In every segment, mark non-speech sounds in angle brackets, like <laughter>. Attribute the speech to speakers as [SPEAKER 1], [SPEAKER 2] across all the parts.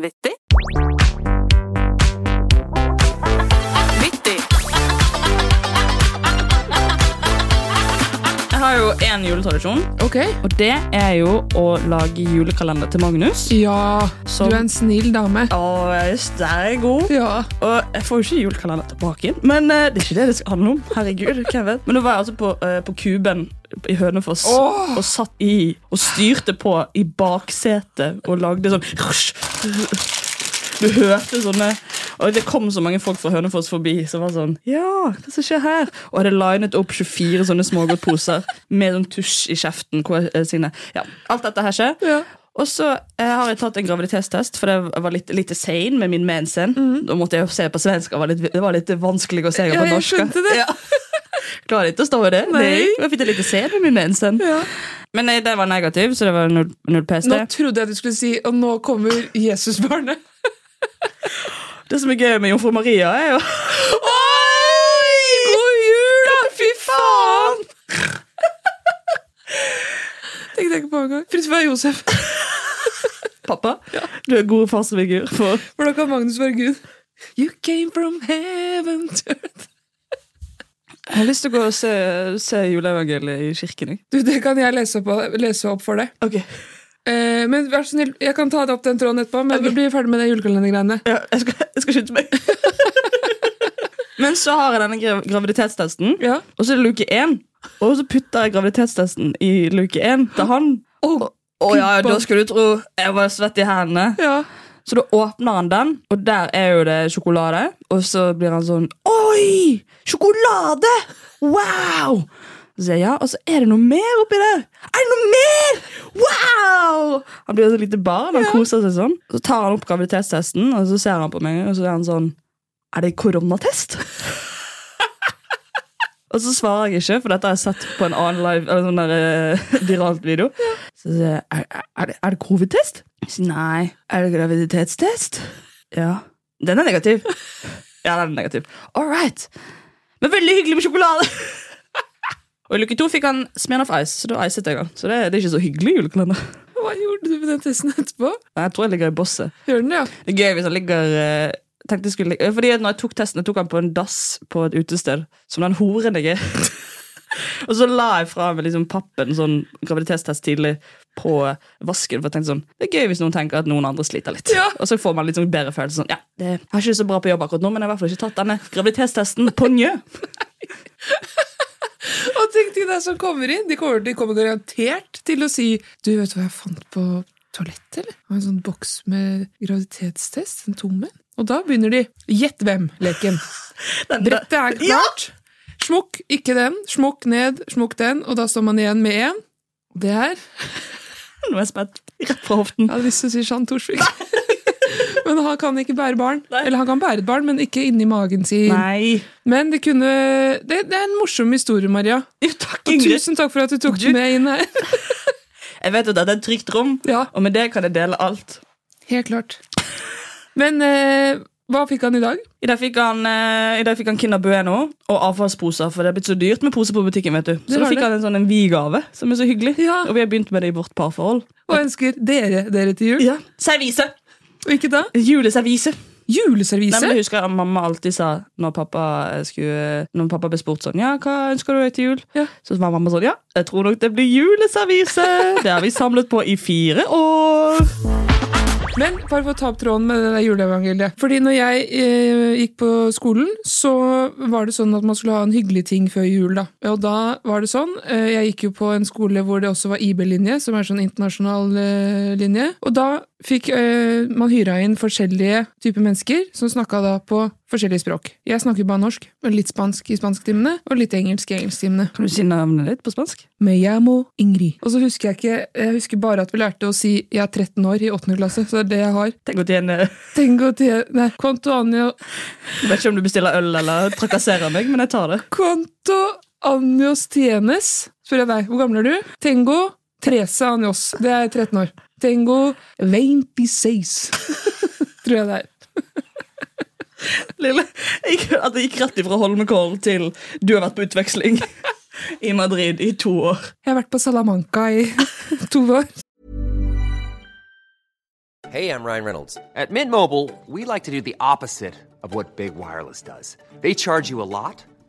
[SPEAKER 1] Vittig. Vittig. Jeg har jo en juletradisjon,
[SPEAKER 2] Ok.
[SPEAKER 1] og det er jo å lage julekalender til Magnus.
[SPEAKER 2] Ja,
[SPEAKER 1] Som-
[SPEAKER 2] du er en snill dame.
[SPEAKER 1] Å, just, der er jeg god.
[SPEAKER 2] Ja.
[SPEAKER 1] Og jeg får jo ikke julekalender tilbake igjen, men eh, det er ikke det det skal handle om. Herregud, hvem vet? Men nå var jeg altså på, eh, på Kuben i Hønefoss
[SPEAKER 2] Åh!
[SPEAKER 1] og satt i og styrte på i baksetet og lagde sånn Du hørte sånne Og det kom så mange folk fra Hønefoss forbi som var sånn Ja, hva som skjer her? Og jeg hadde linet opp 24 sånne smågodtposer med sånn tusj i kjeften. Hvor jeg, eh, sine. Ja, alt dette her skjer.
[SPEAKER 2] Ja.
[SPEAKER 1] Og så eh, har jeg tatt en graviditetstest, for jeg var litt, litt sein med min mensen. Da måtte jeg jo se på svensk, og var litt, det var litt vanskelig å se
[SPEAKER 2] Mhm. Ja,
[SPEAKER 1] på
[SPEAKER 2] jeg
[SPEAKER 1] norsk.
[SPEAKER 2] skjønte det.
[SPEAKER 1] Ja. Klarer ikke å stå i det.
[SPEAKER 2] Nei.
[SPEAKER 1] Jeg fikk litt sein med min mensen.
[SPEAKER 2] Ja.
[SPEAKER 1] Men nei, det var negativ, så det var null, null pest.
[SPEAKER 2] Nå
[SPEAKER 1] det.
[SPEAKER 2] trodde jeg du skulle si Og nå kommer Jesusbarnet. <laughs>
[SPEAKER 1] Det som er gøy med Jomfru Maria, er jo
[SPEAKER 2] Oi! God jul, da! Fy faen! Tenkte jeg ikke på engang. Prins Vær Josef. <laughs>
[SPEAKER 1] Pappa, du er god farsfigur for
[SPEAKER 2] Hvordan kan Magnus være Gud? You came from heaven <laughs> to earth.
[SPEAKER 1] Jeg har lyst til å gå og se, se juleevangeliet i kirken. Jeg.
[SPEAKER 2] Du, det kan jeg lese opp, lese opp for deg. Eh, men vær så snill, jeg kan ta det opp den tråden etterpå, men vi blir ferdig med det julekalendergreiene.
[SPEAKER 1] Ja, jeg, skal, jeg skal <laughs> skynde meg. Men så har jeg denne gra- graviditetstesten,
[SPEAKER 2] Ja.
[SPEAKER 1] og så er det luke én. Og så putter jeg graviditetstesten i luke én til han.
[SPEAKER 2] Å,
[SPEAKER 1] Å ja, da skulle du tro jeg var svett i hendene.
[SPEAKER 2] ja.
[SPEAKER 1] Så da åpner han den, og der er jo det sjokolade. Og så blir han sånn Oi! Sjokolade! Wow! Så sier jeg ja, og så er det noe mer oppi der. Er det noe mer? Wow! Han blir et lite barn, han koser seg sånn. Så tar han opp graviditetstesten, og så ser han på meg, og så er han sånn Er det koronatest? Og så svarer jeg ikke, for dette har jeg sett på en annen live Eller sånn der eh, <laughs> viralt video. Så sier jeg er, er- er, det- er det covid-test? Jeg sier nei. Er det graviditetstest? Ja. Den er negativ. Ja, den er negativ. All right. Men veldig hyggelig med sjokolade! <laughs> Og i luke to fikk han smen of ice, så da icet jeg han. Så det, det er ikke så hyggelig julekalender.
[SPEAKER 2] Hva gjorde du med den testen etterpå?
[SPEAKER 1] Nei, Jeg tror jeg ligger i bosset.
[SPEAKER 2] Gjør den, ja.
[SPEAKER 1] Det er gøy hvis han ligger eh, tenkte jeg skulle, ligge- Fordi at når jeg tok testen, jeg tok han på en dass på et utested. Som den horen jeg er. <laughs> og så la jeg fra meg liksom pappen sånn graviditetstest tidlig på vasken. For jeg tenkte sånn, Det er gøy hvis noen tenker at noen andre sliter litt.
[SPEAKER 2] Ja.
[SPEAKER 1] Og så får man litt sånn bedre følelse. sånn, ja, det, Jeg har ikke det så bra på jobb akkurat nå, men jeg har i hvert fall ikke tatt denne graviditetstesten på <laughs> njø.
[SPEAKER 2] Og tenk til deg som kommer inn. De kommer, de kommer garantert til å si Du, vet du hva jeg fant på toalettet, eller? Jeg har en sånn boks med graviditetstest. En tom en. Og da begynner de. Gjett hvem-leken. Brettet er klart. Smukk ikke den. Smukk ned, smukk den. Og da står man igjen med én. Og Det her
[SPEAKER 1] Nå er jeg spent. Rett fra hoften.
[SPEAKER 2] Jeg hadde lyst til å si Jean Thorsvik. <laughs> Men han kan ikke bære barn.
[SPEAKER 1] Nei.
[SPEAKER 2] Eller han kan bære et barn, men ikke inni magen sin.
[SPEAKER 1] Nei.
[SPEAKER 2] Men det kunne det, det er en morsom historie, Maria.
[SPEAKER 1] Jo, takk,
[SPEAKER 2] Og
[SPEAKER 1] Ingrid.
[SPEAKER 2] tusen takk for at du tok
[SPEAKER 1] Du-
[SPEAKER 2] det med inn her. <laughs>
[SPEAKER 1] Jeg vet jo at dette er et trygt rom,
[SPEAKER 2] Ja,
[SPEAKER 1] og med det kan jeg dele alt.
[SPEAKER 2] helt klart. Men eh, hva fikk han i dag?
[SPEAKER 1] I dag fikk han, eh, i dag fikk han Kinder Bueno og avfallsposer, for det er blitt så dyrt med poser på butikken. vet du. Så
[SPEAKER 2] Det
[SPEAKER 1] da
[SPEAKER 2] har
[SPEAKER 1] fikk
[SPEAKER 2] det.
[SPEAKER 1] han en sånn en vi-gave, som er så hyggelig.
[SPEAKER 2] Ja.
[SPEAKER 1] Og vi har begynt med det i vårt parforhold.
[SPEAKER 2] Og ønsker dere dere til jul?
[SPEAKER 1] Ja. Servise!
[SPEAKER 2] Og ikke da?
[SPEAKER 1] Juleservise. Nei,
[SPEAKER 2] Juleservise?
[SPEAKER 1] men jeg husker at Mamma alltid sa når pappa, eh, skulle, når pappa ble spurt sånn, ja, hva ønsker du deg til jul,
[SPEAKER 2] Ja.
[SPEAKER 1] så var mamma sånn ja, jeg tror nok det blir juleservise.
[SPEAKER 2] <laughs>
[SPEAKER 1] det har vi samlet på i fire år.
[SPEAKER 2] Men bare for å ta opp tråden med det der juleevangeliet. Fordi når jeg eh, gikk på skolen, så var det sånn at man skulle ha en hyggelig ting før jul. da. Og da var det sånn. Eh, jeg gikk jo på en skole hvor det også var IB-linje, som er sånn internasjonal eh, linje. Og da fikk eh, man hyra inn forskjellige typer mennesker som snakka da på forskjellige språk. Jeg snakker bare norsk, men litt spansk i spansktimene, og litt engelsk i engelsktimene.
[SPEAKER 1] Kan du si navnet ditt på spansk?
[SPEAKER 2] Me llamo Ingrid. Og så husker jeg ikke, jeg husker bare at vi lærte å si 'jeg er 13 år' i 8. klasse, så det er det jeg har.
[SPEAKER 1] Tenk å tjene,
[SPEAKER 2] Tengo te... Nei, quanto anno,
[SPEAKER 1] Jeg vet ikke om du bestiller øl eller trakasserer meg, men jeg tar det.
[SPEAKER 2] quanto annos tienes? Spør jeg deg. Hvor gammel er du? Tengo Trese Anjos. Det er 13 år. Tengo 26. Tror jeg det er.
[SPEAKER 1] Lille, jeg, at det gikk rett ifra Holmenkollen til du har vært på utveksling i Madrid i to år.
[SPEAKER 2] <laughs> Jeg har vært på Salamanca i to år.
[SPEAKER 3] Hey, I'm Ryan Reynolds. At Mint Mobile, we like to do the opposite of what Big Wireless does. They charge you a lot,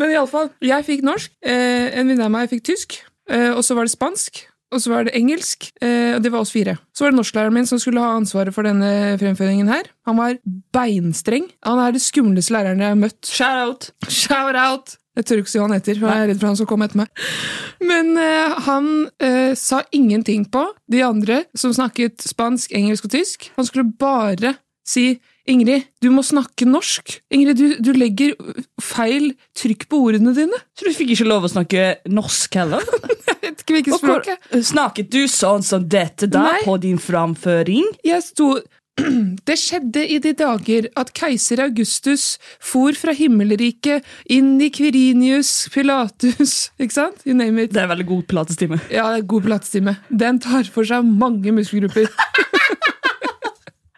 [SPEAKER 2] Men iallfall, jeg fikk norsk, eh, en venninne av meg fikk tysk, eh, og så var det spansk, og så var det engelsk, eh, og det var oss fire. Så var det norsklæreren min som skulle ha ansvaret for denne fremføringen her. Han var beinstreng. Han er det skumleste læreren jeg har møtt.
[SPEAKER 1] Shout out!
[SPEAKER 2] Shout out! Jeg tør ikke si hva han heter, for jeg er redd for han som kom etter meg. Men eh, han eh, sa ingenting på de andre som snakket spansk, engelsk og tysk. Han skulle bare si Ingrid, du må snakke norsk. Ingrid, du, du legger feil trykk på ordene dine.
[SPEAKER 1] Så du fikk ikke lov å snakke norsk <laughs> heller?
[SPEAKER 2] Jeg vet ikke hvilket
[SPEAKER 1] Og hvor-
[SPEAKER 2] språk jeg
[SPEAKER 1] Snakket du sånn som dette da
[SPEAKER 2] Nei.
[SPEAKER 1] på din framføring?
[SPEAKER 2] Jeg sto <clears throat> Det skjedde i de dager at keiser Augustus for fra himmelriket inn i Quirinius Pilatus <laughs> Ikke sant? You name it.
[SPEAKER 1] Det er en veldig god pilatestime.
[SPEAKER 2] Ja, det er god platestime. Den tar for seg mange muskelgrupper.
[SPEAKER 1] <laughs>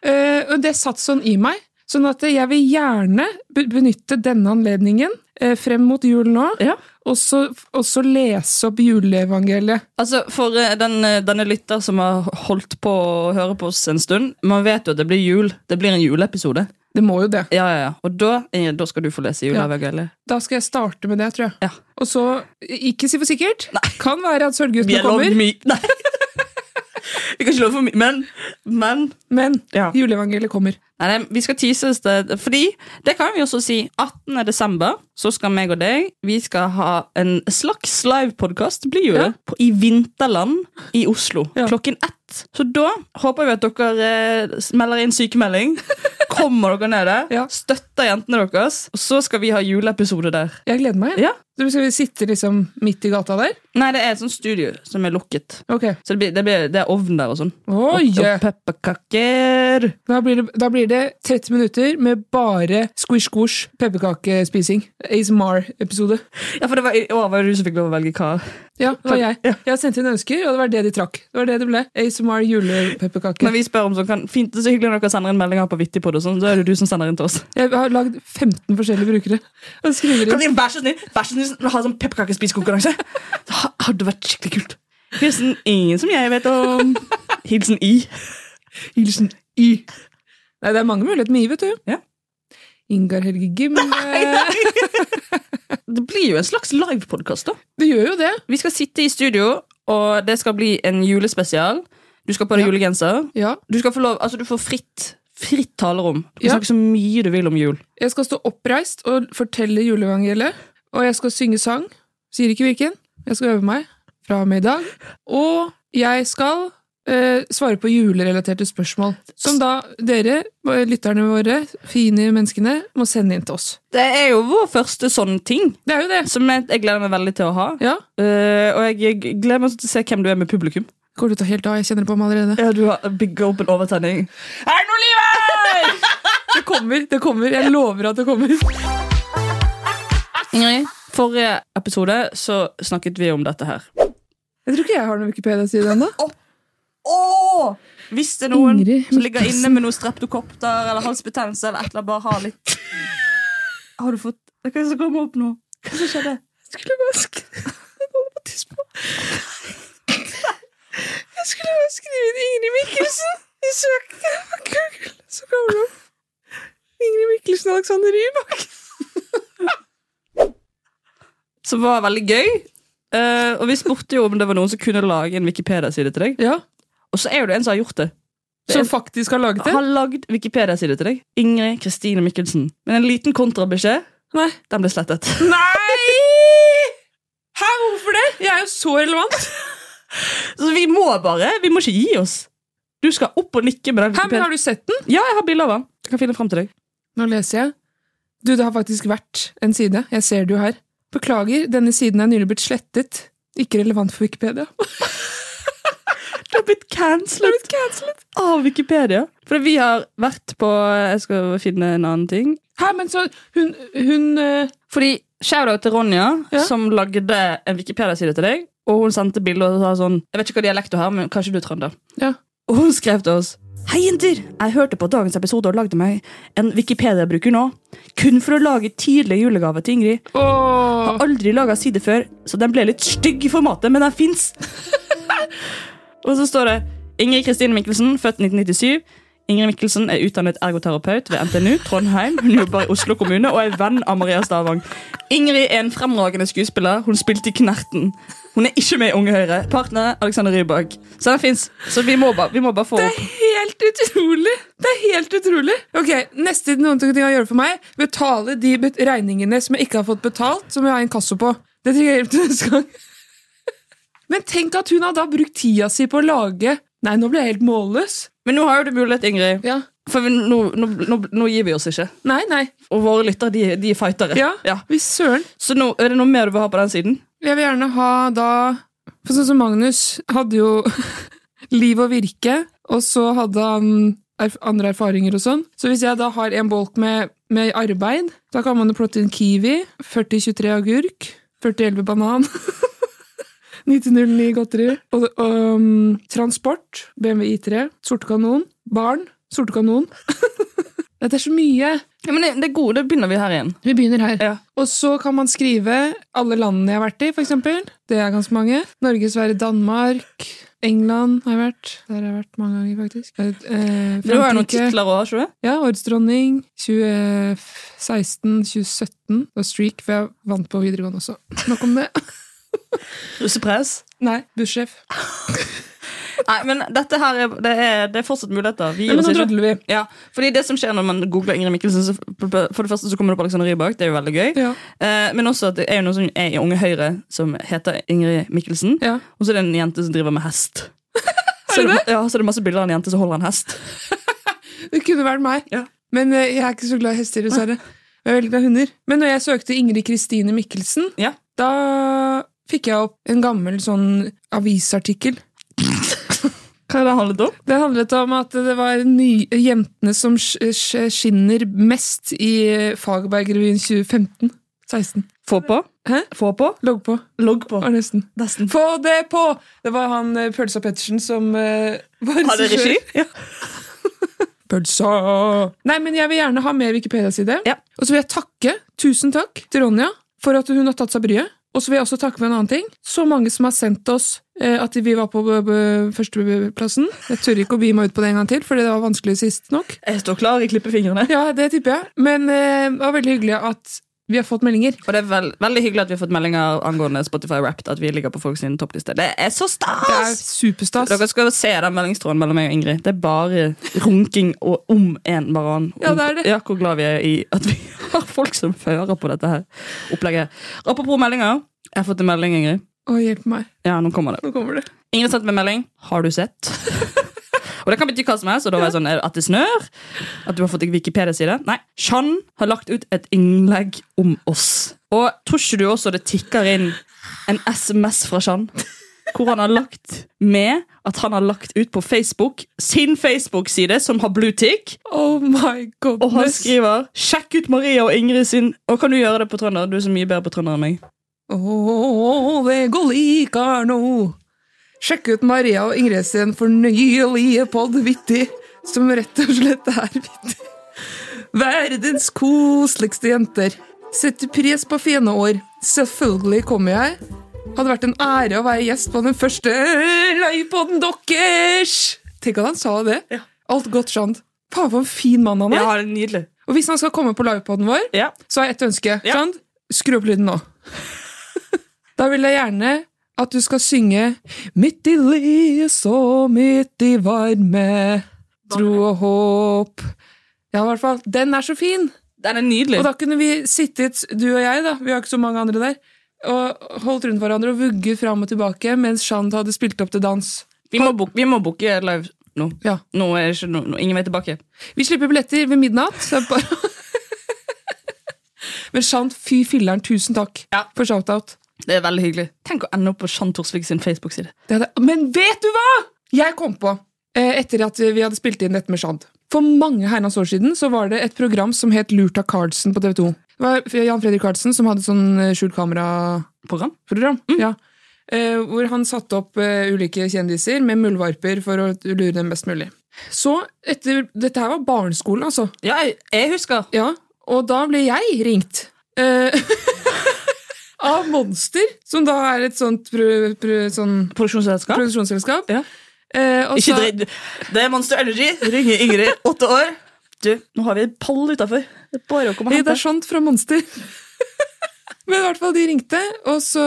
[SPEAKER 2] Eh, og det satt sånn i meg. Sånn at jeg vil gjerne be- benytte denne anledningen eh, frem mot jul nå,
[SPEAKER 1] Ja.
[SPEAKER 2] og, så, og så lese opp juleevangeliet.
[SPEAKER 1] Altså, For eh, den, eh, denne lytter som har holdt på å høre på oss en stund Man vet jo at det blir jul. Det blir en juleepisode.
[SPEAKER 2] Det må jo det.
[SPEAKER 1] Ja, ja, ja. Og da, Ingrid, da skal du få lese juleevangeliet.
[SPEAKER 2] Da skal jeg starte med det, tror jeg.
[SPEAKER 1] Ja.
[SPEAKER 2] Og så, ikke si for sikkert, kan være at
[SPEAKER 1] Vi
[SPEAKER 2] Sølvguttene
[SPEAKER 1] er lov
[SPEAKER 2] kommer,
[SPEAKER 1] my... <laughs> Nei. Vi kan ikke love for mye, men, men
[SPEAKER 2] men
[SPEAKER 1] Ja.
[SPEAKER 2] juleevangeliet kommer.
[SPEAKER 1] Nei, nei, vi skal teases det, fordi det kan vi også si. 18. desember så skal meg og deg vi skal ha en slags livepodkast, blir jo det, på, i Vinterland i Oslo
[SPEAKER 2] Ja.
[SPEAKER 1] klokken ett. Så da håper vi at dere eh, melder inn
[SPEAKER 2] <laughs>
[SPEAKER 1] sykemelding. Kommer dere ned der,
[SPEAKER 2] Ja.
[SPEAKER 1] støtter jentene deres, og så skal vi ha juleepisode der.
[SPEAKER 2] Jeg gleder meg.
[SPEAKER 1] Ja.
[SPEAKER 2] Så skal vi sitte liksom midt i gata der?
[SPEAKER 1] Nei, det er et sånt studio som er lukket.
[SPEAKER 2] Ok.
[SPEAKER 1] Så det, blir, det, blir, det er ovn der og sånn.
[SPEAKER 2] Oi!
[SPEAKER 1] Og, og pepperkaker.
[SPEAKER 2] Da blir, det, da blir det 30 minutter med bare squish-squish pepperkakespising. ASMR-episode.
[SPEAKER 1] Ja, for det var i år var det du som fikk lov å velge hva.
[SPEAKER 2] Ja, det var jeg. Jeg sendte inn ønsker, og det var det de trakk. Det var det det ble. ASMR
[SPEAKER 1] Når
[SPEAKER 2] julepepperkake.
[SPEAKER 1] vi spør om sånn, kan, fint, det er så hyggelig når dere sender inn meldinger på Vittipod, og sånn, så er det du som sender inn til oss.
[SPEAKER 2] Jeg har lagd 15 forskjellige brukere. Og skriver
[SPEAKER 1] Kan
[SPEAKER 2] inn.
[SPEAKER 1] dere vær så snill, vær så snill ha sånn pepperkakespisekonkurranse? Det ha- hadde vært skikkelig kult. Hilsen ingen som jeg vet om. Hilsen I.
[SPEAKER 2] Hilsen Y. Nei, det er mange muligheter med Y, vet du.
[SPEAKER 1] Ja.
[SPEAKER 2] Ingar Helge
[SPEAKER 1] <laughs>
[SPEAKER 2] Gimle.
[SPEAKER 1] Det blir jo en slags livepodkast, da.
[SPEAKER 2] Det gjør jo det.
[SPEAKER 1] Vi skal sitte i studio, og det skal bli en julespesial. Du skal på deg julegenser.
[SPEAKER 2] Ja.
[SPEAKER 1] Du skal få lov, altså du får fritt, fritt talerom. Du
[SPEAKER 2] Ja.
[SPEAKER 1] snakker så mye du vil om jul.
[SPEAKER 2] Jeg skal stå oppreist og fortelle juleevangeliet. Og jeg skal synge sang. Sier ikke hvilken. Jeg skal øve meg fra og med i dag. Og jeg skal eh, svare på julerelaterte spørsmål. Som da dere, lytterne våre, fine menneskene, må sende inn til oss.
[SPEAKER 1] Det er jo vår første sånn ting,
[SPEAKER 2] Det er jo det.
[SPEAKER 1] som jeg, jeg gleder meg veldig til å ha.
[SPEAKER 2] Ja.
[SPEAKER 1] Eh, og jeg jeg gleder meg til å se hvem du er med publikum.
[SPEAKER 2] Går det ut av helt av? Jeg kjenner det på meg allerede.
[SPEAKER 1] Ja, Du har big open overtenning. Er det noe liv her?!
[SPEAKER 2] Det kommer, det kommer. Jeg lover at det kommer.
[SPEAKER 1] Ingrid, forrige episode så snakket vi om dette her.
[SPEAKER 2] Jeg tror ikke jeg har noen Wikipedia-side ennå.
[SPEAKER 1] Oh! Hvis det er noen
[SPEAKER 2] Ingrid
[SPEAKER 1] som ligger
[SPEAKER 2] Mikkelsen.
[SPEAKER 1] inne med noe streptokopter eller halsbetennelse eller et eller annet, bare ha litt Har du fått Hva er det som kommer opp nå? Hva som skjedde?
[SPEAKER 2] skulle bare sk- Jeg holder på å tisse på. Jeg skulle bare skrive inn Ingrid Mikkelsen i søkene på Google, så kommer det opp Ingrid Mikkelsen og Alexander Rybak.
[SPEAKER 1] Som var veldig gøy. Eh, og vi spurte jo om det var noen som kunne lage en Wikipedia-side til deg.
[SPEAKER 2] Ja,
[SPEAKER 1] Og så er jo det en som har gjort det.
[SPEAKER 2] Som faktisk har laget det?
[SPEAKER 1] Har lagd Wikipedia-side til deg. Ingrid Kristine Mikkelsen. Men en liten kontrabeskjed.
[SPEAKER 2] Nei.
[SPEAKER 1] Den ble slettet.
[SPEAKER 2] Nei! Hæ, hvorfor det? Jeg er jo så relevant.
[SPEAKER 1] Så vi må bare Vi må ikke gi oss. Du skal opp og nikke med den
[SPEAKER 2] Hæ, men
[SPEAKER 1] Wikipedia.
[SPEAKER 2] har du sett den?
[SPEAKER 1] Ja, jeg har bilde av den. Jeg kan finne frem til deg.
[SPEAKER 2] Nå leser jeg. Du, det har faktisk vært en side. Jeg ser det jo her. Beklager, denne siden er nylig blitt slettet. Ikke relevant for Wikipedia.
[SPEAKER 1] Det har blitt cancelled av Wikipedia. For vi har vært på Jeg skal finne en annen ting.
[SPEAKER 2] Hæ, men så Hun, hun eh,
[SPEAKER 1] Fordi Shoutout til Ronja,
[SPEAKER 2] Ja.
[SPEAKER 1] som lagde en Wikipedia-side til deg. Og hun sendte bilder og sa sånn Jeg vet ikke hva dialekt du har, men kanskje du er trønder.
[SPEAKER 2] Ja.
[SPEAKER 1] Og hun skrev til oss Hei jenter, jeg hørte på dagens episode og lagde meg en Wikipedia-bruker nå. Kun for å lage tidlige julegaver til Ingrid. Har
[SPEAKER 2] Åh.
[SPEAKER 1] aldri laga side før, så den ble litt stygg i formatet, men den fins. og så står det Ingrid Kristine Mikkelsen, født 1997. Ingrid Mikkelsen er utdannet ergoterapeut ved NTNU Trondheim. Hun jobber i Oslo kommune og er venn av Maria Stavang. Ingrid er en fremragende skuespiller. Hun spilte i Knerten. Hun er ikke med i Unge Høyre. Partner Alexander Rybak. Så den fins. Så vi må bare, vi må bare få opp.
[SPEAKER 2] Helt utrolig! Det er helt utrolig. Ok, Neste noen ting jeg gjør for meg, betale de bet- regningene som jeg ikke har fått betalt, som jeg har inkasso på. Det trenger jeg hjelp til neste gang. <laughs> Men tenk at hun har da brukt tida si på å lage Nei, nå ble jeg helt målløs.
[SPEAKER 1] Men nå har jo du mulighet, Ingrid.
[SPEAKER 2] Ja.
[SPEAKER 1] For vi, nå, nå, nå, nå gir vi oss ikke.
[SPEAKER 2] Nei, nei.
[SPEAKER 1] Og våre lyttere, de, de er fightere.
[SPEAKER 2] Ja,
[SPEAKER 1] Ja.
[SPEAKER 2] Hvis søren.
[SPEAKER 1] Så nå, er det noe mer du vil ha på den siden?
[SPEAKER 2] Jeg vil gjerne ha da For sånn som Magnus hadde jo <laughs> liv og virke, og så hadde han erf andre erfaringer og sånn. Så hvis jeg da har en bolk med, med arbeid, da kan man jo plotte inn kiwi, 4023 agurk, 4011 banan, <laughs> 9009 godteri, og, og um, transport, BMW I3, sorte kanon, barn, sorte kanon. <laughs> Dette er så mye.
[SPEAKER 1] Ja, men det, det er god, da begynner vi her igjen.
[SPEAKER 2] Vi begynner her.
[SPEAKER 1] Ja.
[SPEAKER 2] Og så kan man skrive alle landene jeg har vært i, for eksempel. Det er ganske mange. Norge, Sverige, Danmark, England har jeg vært. Der har jeg vært mange ganger, faktisk. Eh, eh,
[SPEAKER 1] Du har jo noen
[SPEAKER 2] Frankrike.
[SPEAKER 1] titler òg, ikke du?
[SPEAKER 2] Ja, Årets dronning, eh, 2016, 2017 og Streak, for jeg vant på videregående også. Nok om det. <laughs>
[SPEAKER 1] Russepress.
[SPEAKER 2] Nei, bussjef.
[SPEAKER 1] Nei, men dette her er, det er, det er fortsatt muligheter. Vi
[SPEAKER 2] Nei,
[SPEAKER 1] gir
[SPEAKER 2] Men
[SPEAKER 1] oss
[SPEAKER 2] nå
[SPEAKER 1] ikke.
[SPEAKER 2] drodler vi.
[SPEAKER 1] Ja, fordi det som skjer når man googler Ingrid Mikkelsen, så for det første så kommer det opp Alexander Rybak. Det er jo veldig gøy.
[SPEAKER 2] Ja.
[SPEAKER 1] Eh, men også at det er jo noe som er i Unge Høyre som heter Ingrid Mikkelsen.
[SPEAKER 2] Ja.
[SPEAKER 1] Og så er det en jente som driver med <laughs> hest. Så er det, ma- ja, så er det masse bilder av en jente som holder en hest.
[SPEAKER 2] Det kunne vært meg.
[SPEAKER 1] Ja.
[SPEAKER 2] Men eh, jeg er ikke så glad i hester, dessverre. Jeg er veldig glad i hunder. Men når jeg søkte Ingrid Kristine Mikkelsen,
[SPEAKER 1] Ja.
[SPEAKER 2] Da fikk jeg opp en gammel sånn avisartikkel.
[SPEAKER 1] Hva er det handlet om?
[SPEAKER 2] Det handlet om at det var ny, jentene som sk- sk- skinner mest i eh, Fagerberg-revyen 2015-16.
[SPEAKER 1] Få på.
[SPEAKER 2] Hæ?
[SPEAKER 1] Få på.
[SPEAKER 2] Logg på,
[SPEAKER 1] Logg på.
[SPEAKER 2] var nesten.
[SPEAKER 1] Nesten.
[SPEAKER 2] Få det på! Det var han eh, Pølsa Pettersen som eh, var
[SPEAKER 1] Hadde regi? Ja.
[SPEAKER 2] Pølsa! Nei, men jeg vil gjerne ha mer Wikipedia-side.
[SPEAKER 1] Ja.
[SPEAKER 2] Og så vil jeg takke, tusen takk, til Ronja for at hun har tatt seg bryet. Og så vil jeg også takke for en annen ting. Så mange som har sendt oss eh, at vi var på eh, førsteplassen. Jeg tør ikke å bi meg ut på det en gang til, fordi det var vanskelig sist nok.
[SPEAKER 1] Jeg står klar, jeg klipper fingrene.
[SPEAKER 2] Ja, det tipper jeg. Men eh, det var veldig hyggelig at vi har fått meldinger.
[SPEAKER 1] Og det er vel, veldig hyggelig at vi har fått meldinger angående Spotify Wrapped. At vi ligger på folk sin toppliste. Det er så
[SPEAKER 2] Det er
[SPEAKER 1] stas!
[SPEAKER 2] superstas.
[SPEAKER 1] Dere skal se den meldingstråden mellom meg og Ingrid. Det er bare runking og om en baran.
[SPEAKER 2] Ja, det er det.
[SPEAKER 1] Ja, hvor glad vi er i at vi <laughs> har folk som fører på dette her opplegget. Apropos meldinger. Jeg har fått en melding, Ingrid.
[SPEAKER 2] Å, hjelp meg.
[SPEAKER 1] Ja, nå kommer det.
[SPEAKER 2] Nå kommer det.
[SPEAKER 1] Ingrid sendte meg en melding. Har du sett? <laughs> Og det kan bety hva som helst. Og da var jeg sånn, er det At det snør? At du har fått en Wikipedia-side? Nei. Chan har lagt ut et innlegg om oss. Og tror ikke du også det tikker inn en SMS fra Chan? Hvor han har lagt med at han har lagt ut på Facebook sin Facebook-side, som har bluetick.
[SPEAKER 2] Oh my
[SPEAKER 1] Og han
[SPEAKER 2] goodness.
[SPEAKER 1] skriver 'Sjekk ut Maria og Ingrid sin' Og kan du gjøre det på trønder? Du er så mye bedre på trønder enn meg.
[SPEAKER 2] Å, det går likar nå. Sjekk ut Maria og Ingrid sin fornøyelige podd Vittig, som rett og slett er vittig. Verdens koseligste jenter. Setter pris på fine år. Selvfølgelig kommer jeg. Hadde vært en ære å være gjest på den første livepodden deres! Tenk at han sa det. Alt godt, Sjand. Faen, for en fin mann han er.
[SPEAKER 1] det er nydelig.
[SPEAKER 2] Og hvis han skal komme på livepodden vår,
[SPEAKER 1] Ja.
[SPEAKER 2] så har jeg ett ønske.
[SPEAKER 1] Ja.
[SPEAKER 2] Trond, skru opp lyden nå. da vil jeg gjerne at du skal synge Midt i lys og midt i varme tro og håp. Ja, i hvert fall. Den er så fin!
[SPEAKER 4] Den er nydelig.
[SPEAKER 2] Og da kunne vi sittet, du og jeg, da, vi har ikke så mange andre der, og holdt rundt hverandre og vugget fram og tilbake mens Shant hadde spilt opp til dans.
[SPEAKER 4] vi, må book, vi må booke live nå.
[SPEAKER 2] Ja.
[SPEAKER 4] Nå er det ikke no, no, ingen vei tilbake.
[SPEAKER 2] Vi slipper billetter ved midnatt. Så det er bare... <laughs> Men Shant, fy filleren, tusen takk
[SPEAKER 4] Ja.
[SPEAKER 2] for shout-out.
[SPEAKER 4] Det er veldig hyggelig. Tenk å ende opp på Shan Torsvik sin Facebook-side.
[SPEAKER 2] Det hadde... Men vet du hva?! Jeg kom på, eh, etter at vi hadde spilt inn dette med Shant For mange herrens år siden så var det et program som het Lurt av Carlsen på TV 2. Det var Jan Fredrik Carlsen som hadde sånn eh, skjult kamera-program.
[SPEAKER 4] Program?
[SPEAKER 2] Ja. Eh, hvor han satte opp eh, ulike kjendiser med muldvarper for å lure dem best mulig. Så etter Dette her var barneskolen, altså.
[SPEAKER 4] Ja, jeg, jeg husker.
[SPEAKER 2] Ja, og da ble jeg ringt. Eh, <laughs> av Monster, som da er et sånt, pro, pro, sånn
[SPEAKER 4] Produksjonsselskap.
[SPEAKER 2] produksjonsselskap.
[SPEAKER 4] Ja.
[SPEAKER 2] Eh, og
[SPEAKER 4] Ikke
[SPEAKER 2] sa-
[SPEAKER 4] dritt. Det er Monster Energy. Ringer Ingrid, åtte år. Du, nå har vi en pall utafor. Det er bare å komme og
[SPEAKER 2] Hei, det
[SPEAKER 4] hente.
[SPEAKER 2] er sant fra Monster. <laughs> Men i hvert fall, de ringte, og så,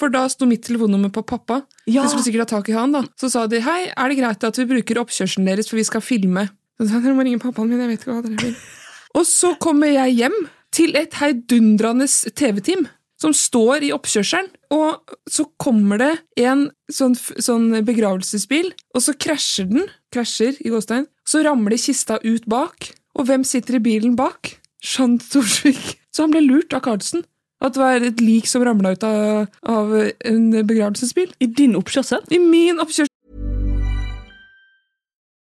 [SPEAKER 2] for da sto mitt telefonnummer på pappa.
[SPEAKER 4] Ja.
[SPEAKER 2] De skulle sikkert ha tak i han, da. Så sa de hei, er det greit at vi bruker oppkjørselen deres, for vi skal filme? Så sa jeg, dere må ringe pappaen min, jeg vet ikke hva dere vil. og så kommer jeg hjem til et heidundrende TV-team. Som står i oppkjørselen, og så kommer det en sånn, f- sånn begravelsesbil, og så krasjer den. Krasjer, i gåstein. Så ramler kista ut bak, og hvem sitter i bilen bak? Jean Thorsvik. Så han ble lurt av Carlsen. At det var et lik som ramla ut av, av en begravelsesbil.
[SPEAKER 4] I din oppkjørsel?
[SPEAKER 2] I min oppkjørsel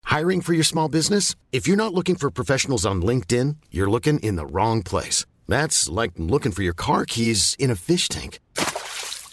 [SPEAKER 5] Hiring for your small business? If you're not looking for professionals on LinkedIn, you're looking in the wrong place. That's like looking for your car keys in a fish tank.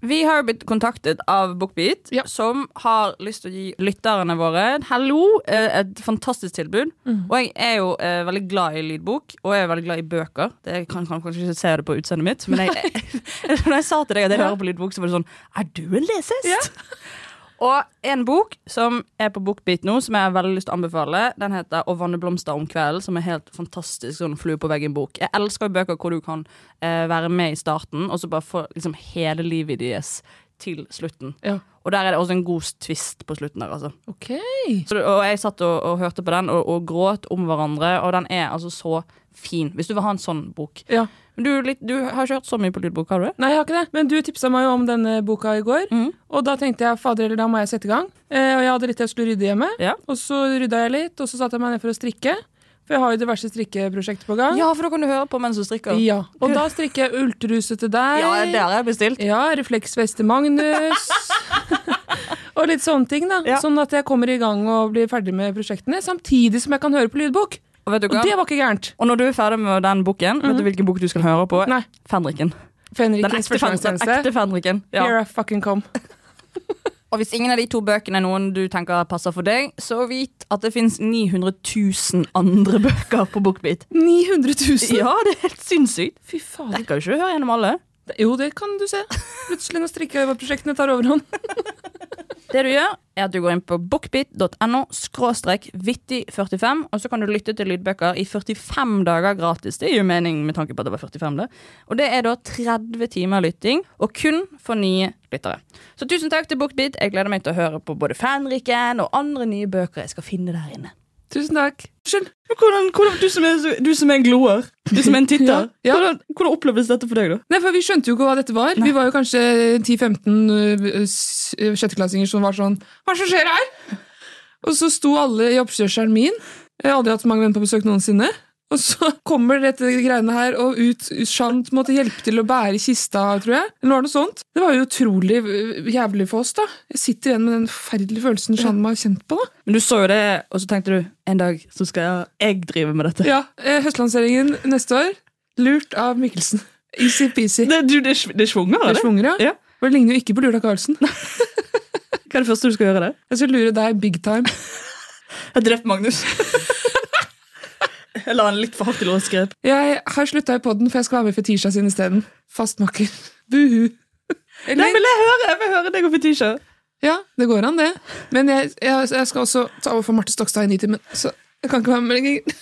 [SPEAKER 1] Vi har jo blitt kontaktet av BookBeat,
[SPEAKER 2] Ja.
[SPEAKER 1] som har lyst til å gi lytterne våre en hallo, eh, et fantastisk tilbud. Og jeg er jo eh, veldig glad i lydbok, og jeg er veldig glad i bøker. Det jeg kan, kan kanskje ikke se det på utseendet mitt, men jeg, <laughs> når jeg sa til deg at jeg hører på lydbok, så var det sånn Er du en lesehest? Og en bok som er på BookBeat nå, som jeg har veldig lyst til å anbefale, den heter 'Å vanne blomster om kvelden', som er helt fantastisk sånn flue på veggen-bok. Jeg elsker jo bøker hvor du kan eh, være med i starten, og så bare få liksom, hele livet deres til slutten.
[SPEAKER 2] Ja.
[SPEAKER 1] Og der er det også en god twist på slutten der, altså.
[SPEAKER 2] Ok.
[SPEAKER 1] Så, det- og jeg satt og, og hørte på den og, og gråt om hverandre, og den er altså så fin. Hvis du vil ha en sånn bok.
[SPEAKER 2] Ja.
[SPEAKER 1] Men du, er litt, du har ikke hørt så mye på lydbok, har du det?
[SPEAKER 2] Nei, jeg har ikke det. Men du tipsa meg jo om denne boka i går.
[SPEAKER 1] Mm.
[SPEAKER 2] Og da tenkte jeg fader eller da må jeg sette i gang. Eh, og jeg hadde litt jeg skulle rydde hjemme.
[SPEAKER 1] Ja.
[SPEAKER 2] Og så rydda jeg litt, og så satte jeg meg ned for å strikke. For jeg har jo diverse strikkeprosjekter på gang.
[SPEAKER 1] Ja, for da kan du høre på mens du strikker.
[SPEAKER 2] Ja. Og da strikker jeg ultruse til deg.
[SPEAKER 1] Ja, det har jeg bestilt.
[SPEAKER 2] Ja, refleksvest til Magnus.
[SPEAKER 1] <laughs>
[SPEAKER 2] og litt sånne ting, da.
[SPEAKER 1] Ja.
[SPEAKER 2] Sånn at jeg kommer i gang og blir ferdig med prosjektene, samtidig som jeg kan høre på lydbok.
[SPEAKER 1] Og vet du
[SPEAKER 2] Og
[SPEAKER 1] hva?
[SPEAKER 2] det var ikke gærent.
[SPEAKER 1] Og når du er ferdig med den boken, vet du hvilken bok du skal høre på?
[SPEAKER 2] Nei.
[SPEAKER 1] Fenriken. Den ekte, Fen-
[SPEAKER 2] Fenrikens
[SPEAKER 1] den ekte
[SPEAKER 2] førstegangstjeneste.
[SPEAKER 1] Fenriken.
[SPEAKER 2] Here
[SPEAKER 1] Ja.
[SPEAKER 2] I fucking come.
[SPEAKER 1] Og hvis ingen av de to bøkene er noen du tenker passer for deg, så vit at det fins 900 000 andre <laughs> bøker på BookBeat.
[SPEAKER 2] 900 000!
[SPEAKER 1] Ja, det er helt sinnssykt.
[SPEAKER 2] Fy fader.
[SPEAKER 1] Rekker jo ikke å høre gjennom alle.
[SPEAKER 2] Jo, det kan du se. Plutselig når strikkeprosjektene tar overhånd. <laughs>
[SPEAKER 1] Det du gjør, er at du går inn på bookbit.no skråstrek vittig45, og så kan du lytte til lydbøker i 45 dager gratis. Det gir jo mening med tanke på at det var 45, det. Og det er da 30 timer lytting, og kun for nye lyttere. Så tusen takk til Bookbit. Jeg gleder meg til å høre på både Fanriken og andre nye bøker jeg skal finne der inne.
[SPEAKER 2] Tusen takk. Unnskyld.
[SPEAKER 4] Hvordan, hvordan, du, som er, så- du som er en gloer, du som er en titter,
[SPEAKER 2] Ja, ja.
[SPEAKER 4] Hvordan, hvordan oppleves dette for deg, da?
[SPEAKER 2] Nei, for Vi skjønte jo ikke hva dette var. Vi var jo kanskje 10-15 øh, s- øh, sjetteklassinger som var sånn Hva er det som skjer her?! Og så sto alle i oppkjørselen min. Jeg har aldri hatt så mange venner på besøk noensinne. Og så <laughs> kommer dette greiene her, og ut Shant måtte hjelpe til å bære kista, tror jeg. Eller var det noe sånt? Det var jo utrolig øh, jævlig for oss, da. Jeg sitter igjen med den forferdelige følelsen Shant må ha kjent på, da.
[SPEAKER 4] Men Du så jo det, og så tenkte du en dag så skal jeg drive med dette.
[SPEAKER 2] Ja, eh, Høstlanseringen neste år. Lurt av Mikkelsen. Easy-peasy.
[SPEAKER 4] Det, du, det, sv- det svunger,
[SPEAKER 2] Det
[SPEAKER 4] eller?
[SPEAKER 2] svunger, ja.
[SPEAKER 4] Ja.
[SPEAKER 2] Og Det ligner jo ikke på Lula Karlsen.
[SPEAKER 4] Hva er det første du skal gjøre der?
[SPEAKER 2] Jeg skal lure deg big time.
[SPEAKER 1] <laughs>
[SPEAKER 4] Jeg har drept Magnus.
[SPEAKER 1] Jeg la den litt for hardt i lårskred.
[SPEAKER 2] Jeg har slutta i podden, for jeg skal være med i Fetisha sin isteden. Fastmakker. Buhu.
[SPEAKER 1] Nei, vil jeg høre! Jeg vil høre deg og Fetisha.
[SPEAKER 2] Ja, det går an, det. Men jeg, jeg, jeg skal også ta over for Marte Stokstad i Nitimen, så jeg kan ikke være med lenger.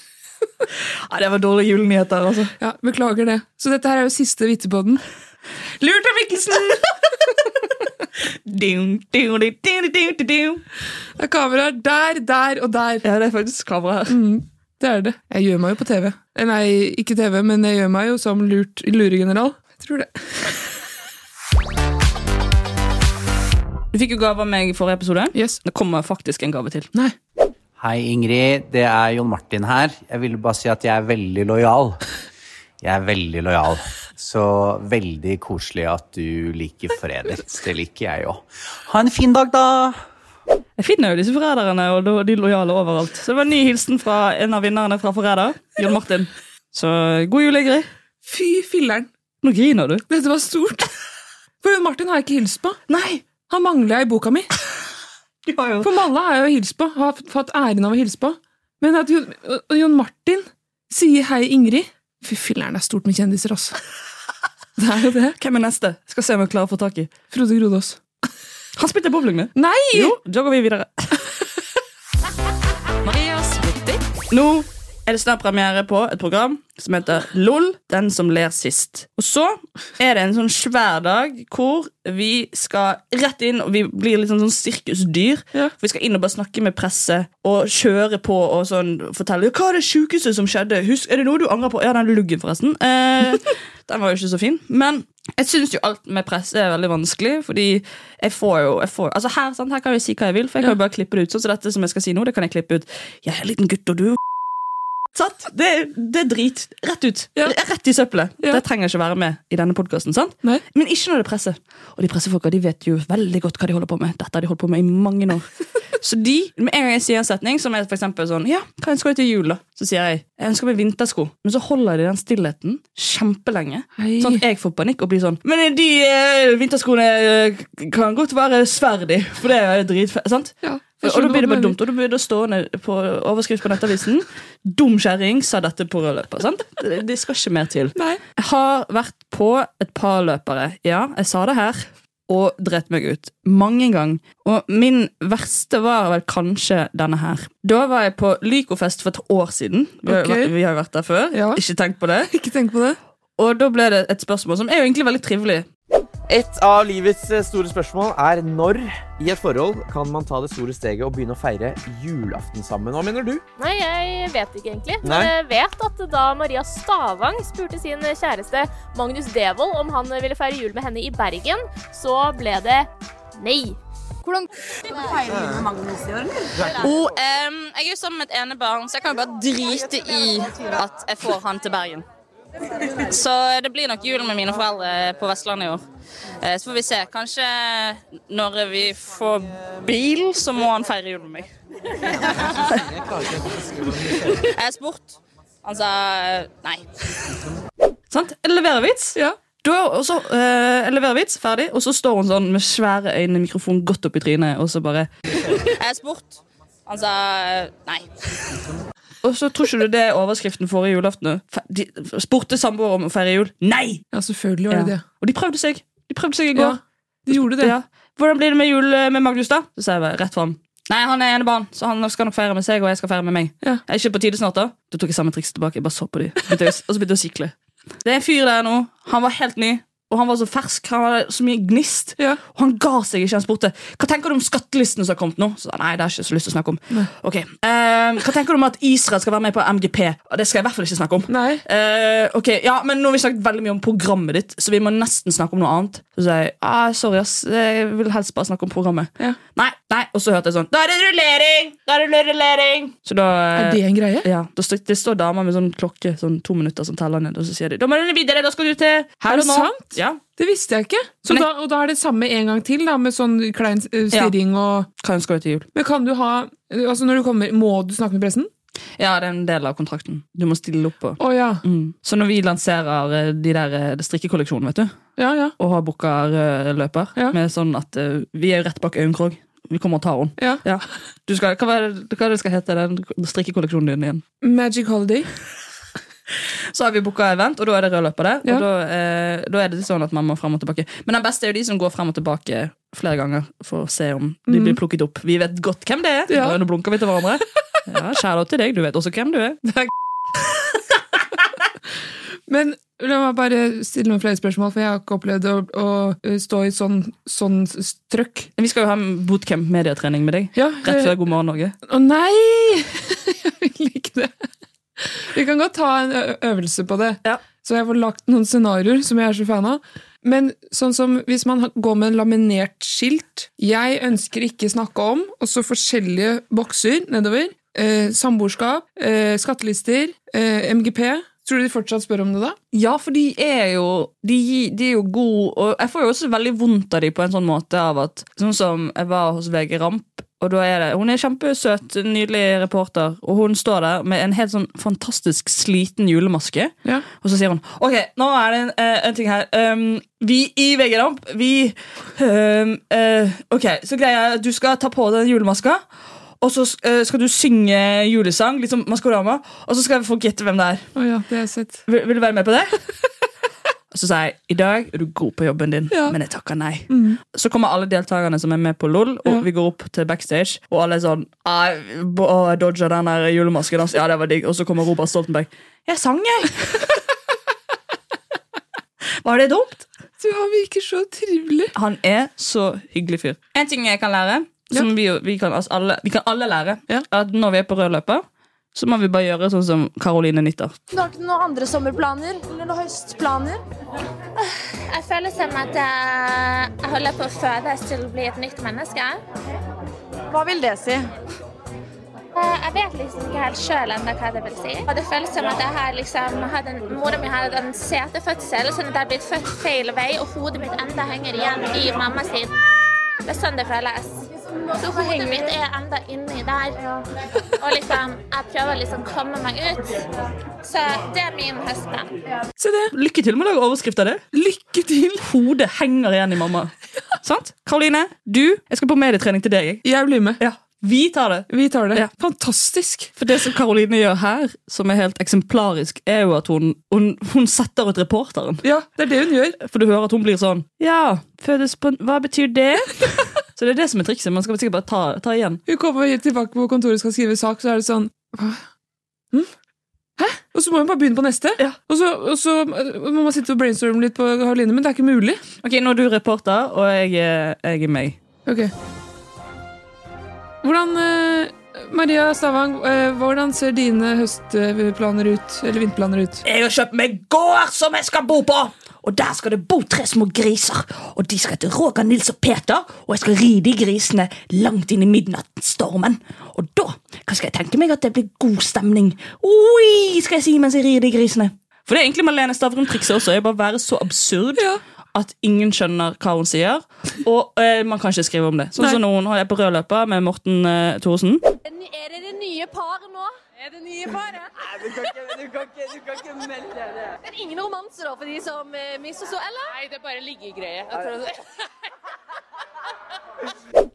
[SPEAKER 1] Ja, det var dårlige julenyheter, altså.
[SPEAKER 2] Ja, Beklager det. Så dette her er jo siste vitepodden. Lurt av Mikkelsen!
[SPEAKER 1] Ding, ding, ding, ding, ding, ding, ding.
[SPEAKER 2] Det er kameraer der, der og der.
[SPEAKER 1] Ja, det er faktisk kamera her.
[SPEAKER 2] Det er det. Jeg gjør meg jo på TV. Eh, Nei, ikke TV, men jeg gjør meg jo som lurt luregeneral. Jeg tror det.
[SPEAKER 1] Du fikk jo gave av meg i forrige episode.
[SPEAKER 2] Yes.
[SPEAKER 1] Det kommer faktisk en gave til.
[SPEAKER 2] Nei.
[SPEAKER 6] Hei, Ingrid. Det er Jon Martin her. Jeg ville bare si at jeg er veldig lojal. Jeg er veldig lojal. Så veldig koselig at du liker Fredriks. Det liker jeg òg. Ha en fin dag, da!
[SPEAKER 1] Jeg finner jo disse forræderne og lo- de lojale overalt. Så det var en ny hilsen fra en av vinnerne fra Forræder, Jon Martin. Så god jul, Ingrid.
[SPEAKER 2] Fy filleren.
[SPEAKER 1] Nå griner du.
[SPEAKER 2] Dette var stort. <laughs> For Jon Martin har jeg ikke hilst på.
[SPEAKER 1] Nei!
[SPEAKER 2] Han mangler jeg i boka mi.
[SPEAKER 1] Du har jo
[SPEAKER 2] For Malla har jeg jo hilst på. Har fått æren av å hilse på. Men at Jon, og Jon Martin sier hei, Ingrid Fy filler'n, det er stort med kjendiser, <laughs> altså. Det er jo det.
[SPEAKER 1] Hvem er neste? Skal se om jeg klarer å få tak i.
[SPEAKER 2] Frode Grodås.
[SPEAKER 1] Han spilte bowling med.
[SPEAKER 2] Nei!
[SPEAKER 1] Jo, da går vi videre. Nå er det snart premiere på et program som heter LOL, den som ler sist. Og så er det en sånn svær dag hvor vi skal rett inn, og vi blir litt sånn, sånn sirkusdyr.
[SPEAKER 2] Ja.
[SPEAKER 1] For vi skal inn og bare snakke med presse og kjøre på og sånn fortelle. Hva er det sjukeste som skjedde? Husk, er det noe du angrer på? Ja, den luggen, forresten. Eh, den var jo ikke så fin. Men jeg syns jo alt med presse er veldig vanskelig, fordi jeg får jo jeg får, Altså her, sant, her kan jeg si hva jeg vil, for jeg kan jo bare klippe det ut. Sånn som dette som jeg skal si nå, det kan jeg klippe ut. Jeg er en liten gutt, og du Sant? Det, det er drit. Rett ut.
[SPEAKER 2] Ja.
[SPEAKER 1] Rett i søppelet.
[SPEAKER 2] Ja.
[SPEAKER 1] Det trenger ikke være med i denne podkasten.
[SPEAKER 2] Nei.
[SPEAKER 1] Men ikke når det er presse. Og de pressefolka de vet jo veldig godt hva de holder på med. Dette har de holdt på med i mange
[SPEAKER 2] <laughs>
[SPEAKER 1] år. Så de, med en gang jeg sier en setning som er for eksempel sånn Ja, hva ønsker du til jul, da? Så sier jeg jeg ønsker meg vintersko. Men så holder de den stillheten kjempelenge.
[SPEAKER 2] Hei.
[SPEAKER 1] Sånn at jeg får panikk og blir sånn Men de eh, vinterskoene eh, kan godt være sverd i, for det er dritfett. Sant?
[SPEAKER 2] Ja, jeg
[SPEAKER 1] og da
[SPEAKER 2] skjønner
[SPEAKER 1] blir det
[SPEAKER 2] hva
[SPEAKER 1] bare
[SPEAKER 2] du mener.
[SPEAKER 1] dumt. Og da blir det stående på overskrift på Nettavisen 'Dum kjerring sa dette på rødløper'. sant? Det det skal ikke mer til.
[SPEAKER 2] Nei.
[SPEAKER 1] Jeg har vært på et par løpere. Ja, jeg sa det her. Og dreit meg ut. Mange ganger. Og min verste var vel kanskje denne her. Da var jeg på Lycofest for et år siden. Vi har, jo
[SPEAKER 2] Ok.
[SPEAKER 1] vært- vi har jo vært der før.
[SPEAKER 2] Ja.
[SPEAKER 1] Ikke tenkt på det.
[SPEAKER 2] Ikke tenk på det.
[SPEAKER 1] Og da ble det et spørsmål som er jo egentlig veldig trivelig.
[SPEAKER 7] Et av livets eh, store spørsmål er når i et forhold kan man ta det store steget og begynne å feire julaften sammen. Hva mener du?
[SPEAKER 8] Nei, jeg vet ikke egentlig.
[SPEAKER 7] Nei.
[SPEAKER 8] Men jeg vet at da Maria Stavang spurte sin kjæreste Magnus Devold om han ville feire jul med henne i Bergen, så ble det nei. Hvordan
[SPEAKER 9] Og, ehm, jeg er jo sammen med et enebarn, så jeg kan jo bare drite i at jeg får han til Bergen. Så det blir nok jul med mine foreldre på Vestlandet i år. Eh, Så får vi se. Kanskje når vi får bil, så må han feire jul med meg. <laughs> Jeg spurte. Han sa eh, nei.
[SPEAKER 1] Sant? Jeg leverer vits.
[SPEAKER 2] Ja.
[SPEAKER 1] Da, og så, eh, jeg leverer vits, ferdig, og så står hun sånn med svære øyne, mikrofonen godt opp i trynet, og så bare
[SPEAKER 9] Jeg spurte. Han sa eh, nei.
[SPEAKER 1] Og så tror ikke du det er overskriften forrige julaften? nå? Fe- De spurte samboere om å feire jul. Nei!
[SPEAKER 2] Ja, selvfølgelig var det det.
[SPEAKER 1] Og de prøvde seg. De prøvde seg i
[SPEAKER 2] Ja,
[SPEAKER 1] går.
[SPEAKER 2] de gjorde det.
[SPEAKER 1] Ja. Hvordan blir det med jul eh, med Magnus, da? Så sa jeg bare rett fram. Nei, han er enebarn, så han skal nok feire med seg, og jeg skal feire med meg.
[SPEAKER 2] Ja.
[SPEAKER 1] Er ikke på tide snart, da? Da tok jeg samme triks tilbake. Jeg bare så på de. Begynte jeg- Og så begynte jeg å sikle. Det er en fyr der nå. Han var helt ny. Og han var så fersk. Han hadde så mye gnist.
[SPEAKER 2] Ja.
[SPEAKER 1] Og han ga seg ikke. Han spurte hva tenker du om skattelisten som har kommet nå. Så sa han, nei, det har jeg ikke så lyst til å snakke om. Ok, ehm, Hva tenker du om at Israel skal være med på MGP? Og Det skal jeg i hvert fall ikke snakke om.
[SPEAKER 2] Nei.
[SPEAKER 1] Eh, ok, ja, men Nå har vi snakket veldig mye om programmet ditt, så vi må nesten snakke om noe annet. Så sa jeg ah, sorry, ass. Jeg vil helst bare snakke om programmet.
[SPEAKER 2] Ja.
[SPEAKER 1] Nei, nei, Og så hørte jeg sånn Da er det rullering! Da er det rullering! Så da eh,
[SPEAKER 2] Er det en greie?
[SPEAKER 1] ja, da står, Det står damer med sånn klokke Sånn to minutter som teller ned, og så sier de Da må du videre, da skal du til
[SPEAKER 2] Er
[SPEAKER 1] her
[SPEAKER 2] det
[SPEAKER 1] og nå.
[SPEAKER 2] sant?
[SPEAKER 1] Ja,
[SPEAKER 2] Det visste jeg ikke. Så
[SPEAKER 1] Nei.
[SPEAKER 2] da, og da er det samme en gang til, da, med sånn klein eh, stirring og
[SPEAKER 1] Hva ønsker du til jul?
[SPEAKER 2] Men kan du ha Altså, når du kommer Må du snakke med pressen?
[SPEAKER 1] Ja, det er en del av kontrakten. Du må stille opp på.
[SPEAKER 2] Å ja.
[SPEAKER 1] Mm. Så når vi lanserer eh, de der eh, strikkekolleksjonen, vet du,
[SPEAKER 2] Ja, ja.
[SPEAKER 1] og har booka rød løper,
[SPEAKER 2] Ja.
[SPEAKER 1] med sånn at eh, vi er eh, jo rett bak Øyenkrog, Vi kommer og tar henne.
[SPEAKER 2] Ja.
[SPEAKER 1] Ja. Du skal, hva er det hva er det skal hete den strikkekolleksjonen din igjen?
[SPEAKER 2] Magic Holiday.
[SPEAKER 1] Så har vi booka event, og da er det rød løper der.
[SPEAKER 2] Ja.
[SPEAKER 1] Og da, eh, da er det sånn at man må frem og tilbake. Men den beste er jo de som går frem og tilbake flere ganger for å se om de blir plukket opp. Vi vet godt hvem det er.
[SPEAKER 2] Mm. Ja.
[SPEAKER 1] Nå blunker vi til hverandre. Ja, Kjære til deg, du vet også hvem du er.
[SPEAKER 2] Men la meg bare stille noen flere spørsmål, for jeg har ikke opplevd å, å eh, stå i sånn, sånn strøkk.
[SPEAKER 1] Vi skal jo ha en bootcamp medietrening med deg.
[SPEAKER 2] Ja,
[SPEAKER 1] Rett
[SPEAKER 2] eh,
[SPEAKER 1] før God morgen Norge.
[SPEAKER 2] Å nei! <laughs> Jeg vil ikke det. Vi kan godt ta en ø- øvelse på det.
[SPEAKER 1] Ja.
[SPEAKER 2] Så jeg får lagt noen scenarioer som jeg er så fan av. Men sånn som hvis man ha- går med en laminert skilt Jeg ønsker ikke snakke om, og så forskjellige bokser nedover. Eh, samboerskap, eh, skattelister, eh, MGP. Tror du de fortsatt spør om det da?
[SPEAKER 1] Ja, for de er jo de, gi- de er jo gode, og jeg får jo også veldig vondt av dem på en sånn måte av at Sånn som jeg var hos VG Ramp, og da er det Hun er kjempesøt, nydelig reporter, og hun står der med en helt sånn fantastisk sliten julemaske,
[SPEAKER 2] Ja.
[SPEAKER 1] og så sier hun OK, nå er det en, eh, en ting her. Um, vi i VG Ramp, vi um, eh, OK, så greier jeg at du skal ta på deg den julemaska. Og så eh, skal du synge julesang, liksom Maskorama, og så skal folk gjette hvem det er.
[SPEAKER 2] Å ja, det har jeg sett.
[SPEAKER 1] Vil, vil du være med på det? <laughs> Og så sa jeg i dag er du god på jobben din,
[SPEAKER 2] Ja. Mm.
[SPEAKER 1] men jeg takker nei. Så kommer alle deltakerne som er med på LOL, og
[SPEAKER 2] Ja.
[SPEAKER 1] vi går opp til backstage. Og alle er sånn «Ai, bo- å, Jeg dodga den der julemasken. hans. Ja, det var digg. Og så kommer Robert Stoltenberg. Jeg sang, jeg! <laughs> Var det dumt?
[SPEAKER 2] Du, han virker så trivelig.
[SPEAKER 1] Han er så hyggelig fyr. En ting jeg kan lære, som vi, jo- vi, kan, altså alle, vi kan alle lære,
[SPEAKER 2] Ja.
[SPEAKER 1] er at når vi er på rød løper, så må vi bare gjøre sånn som Caroline Nitter.
[SPEAKER 10] Du har ikke noen andre sommerplaner eller noen høstplaner?
[SPEAKER 8] Jeg føler som at jeg jeg holder på å fødes til å bli et nytt menneske.
[SPEAKER 10] Hva vil det si?
[SPEAKER 8] Eh, Jeg vet liksom ikke helt sjøl ennå hva det vil si. Og det føles som at jeg har liksom hatt en, Mora mi hadde en setefødsel, sånn at jeg har blitt født feil vei, og hodet mitt enda henger igjen i mamma sin. Det er sånn det føles. Så hodet mitt er enda inni der. Og liksom, jeg prøver liksom å komme meg ut. Så det er min høstplan.
[SPEAKER 1] Se det. Lykke til med å lage overskrift av det. Lykke til! Hodet henger igjen i mamma. Sant? Karoline, du, jeg skal på medietrening til deg. jeg.
[SPEAKER 2] Jeg blir med.
[SPEAKER 1] Ja, Vi tar det.
[SPEAKER 2] Vi tar det.
[SPEAKER 1] Ja.
[SPEAKER 2] Fantastisk!
[SPEAKER 1] For det som Karoline gjør her, som er helt eksemplarisk, er jo at hun, hun, hun setter ut reporteren.
[SPEAKER 2] Ja, det er det hun gjør.
[SPEAKER 1] For du hører at hun blir sånn Ja, fødes på en- Hva betyr <laughs> det? Så det er det som er trikset. Man skal sikkert bare ta, ta igjen.
[SPEAKER 2] Hun kommer hit tilbake på kontoret og skal skrive sak, så er det sånn Hva? Hm? Hæ? Og så må hun bare begynne på neste.
[SPEAKER 1] Ja.
[SPEAKER 2] Og, så, og så må man sitte og brainstorme litt på Karoline, men det er ikke mulig.
[SPEAKER 1] Ok, Nå er du reporter, og jeg, er- jeg er meg.
[SPEAKER 2] Ok. Hvordan eh, Maria Stavang, eh, hvordan ser dine høstplaner ut? Eller vinterplaner ut?
[SPEAKER 1] Jeg har kjøpt meg gård som jeg skal bo på! Og der skal det bo tre små griser. Og de skal hete Roger, Nils og Peter, og jeg skal ri de grisene langt inn i midnattsstormen. Og da hva skal jeg tenke meg at det blir god stemning. Oi, skal jeg si mens jeg rir de grisene. For det er egentlig Malene Stavrum-trikset også. er bare å være så absurd. At ingen skjønner hva hun sier, og eh, man kan ikke skrive om det. Sånn som nå hun er på rød løper med Morten eh, Thorsen.
[SPEAKER 10] Er det det nye paret nå? Er det nye paret? Nei, du kan ikke, melde det. Det er ingen romanser da, for de som eh, misforstår, eller? Nei, det er bare liggegreie.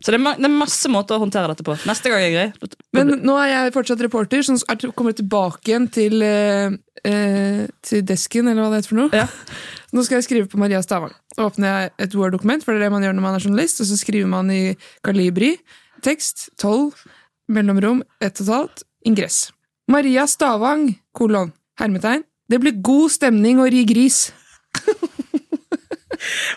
[SPEAKER 1] Så det er, ma det er masse måter å håndtere dette på. Neste gang jeg greier. da- da-
[SPEAKER 2] Men nå er jeg fortsatt reporter, så jeg kommer tilbake igjen til, eh, eh, til desken, eller hva det heter for noe.
[SPEAKER 1] Ja.
[SPEAKER 2] <laughs> Nå skal jeg skrive på Maria Stavang. Da åpner jeg et Word-dokument, for det er det man gjør når man er journalist, og så skriver man i kalibri, tekst, 12, mellomrom, ett og et halvt, ingress. Maria Stavang, kolon, hermetegn. Det blir god stemning å ri gris.
[SPEAKER 1] <laughs>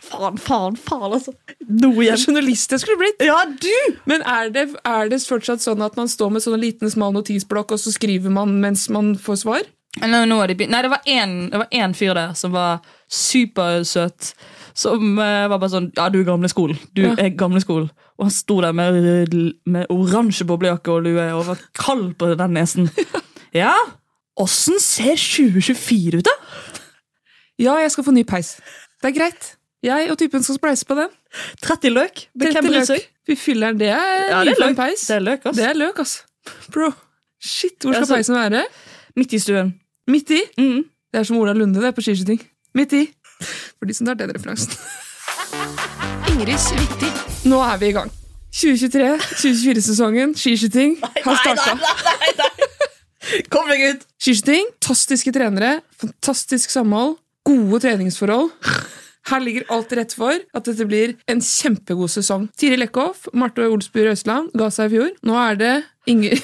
[SPEAKER 1] Faen, faen, faen, altså. Noe igjen.
[SPEAKER 2] Journalist jeg skulle blitt.
[SPEAKER 1] Ja, du!
[SPEAKER 2] Men er det, er det fortsatt sånn at man står med sånn en liten smal notisblokk, og så skriver man mens man får svar?
[SPEAKER 1] Nå, nå er de begynt- Nei, det var en- det var én fyr der som var supersøt. Som eh, var bare sånn Ja, du er gamleskolen. Du
[SPEAKER 2] Ja.
[SPEAKER 1] er gamleskolen. Og han sto der med, rød- med oransje boblejakke og lue og var kald på den nesen. <laughs> Ja, åssen ser 2024 ut, da?
[SPEAKER 2] Ja, jeg skal få ny peis. Det er greit. Jeg og typen skal spleise på den.
[SPEAKER 1] 30 løk? Men hvem
[SPEAKER 2] Tente
[SPEAKER 1] bryr
[SPEAKER 2] løk.
[SPEAKER 1] seg?
[SPEAKER 2] Fy fyller, det er
[SPEAKER 1] Ja, det er
[SPEAKER 2] nyfødt
[SPEAKER 1] løk.
[SPEAKER 2] peis.
[SPEAKER 1] Det er løk, ass.
[SPEAKER 2] Det er løk, ass. Bro, shit, hvor skal
[SPEAKER 1] Altså-
[SPEAKER 2] peisen være?
[SPEAKER 1] Midt i stuen.
[SPEAKER 2] Midt i.
[SPEAKER 1] Mm.
[SPEAKER 2] Det er som Ola Lunde, det, er på skiskyting. Midt i. <laughs> For de som tar den referansen. Nå er vi i gang. 2023-2024-sesongen, skiskyting, har starta.
[SPEAKER 1] Kom deg ut!
[SPEAKER 2] Skiskyting, fantastiske trenere, fantastisk samhold, gode treningsforhold. Her ligger alt til rette for at dette blir en kjempegod sesong. Tiril Eckhoff, Marte Olsby Røsland ga seg i fjor. Nå er det Inger...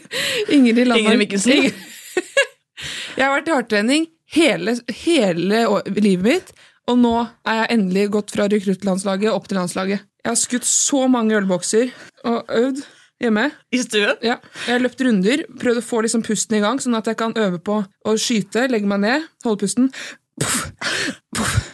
[SPEAKER 2] <laughs> Ingrid Landheim
[SPEAKER 1] Ingrid Mikkelsen.
[SPEAKER 2] Inger- Jeg har vært i hardtrening hele, hele å- livet mitt, og nå er jeg endelig gått fra rekruttlandslaget opp til landslaget. Jeg har skutt så mange ølbokser og øvd hjemme.
[SPEAKER 1] I stuen.
[SPEAKER 2] Ja. Jeg har løpt runder, prøvd å få liksom pusten i gang, sånn at jeg kan øve på å skyte, legge meg ned, holde pusten. Puff, puff,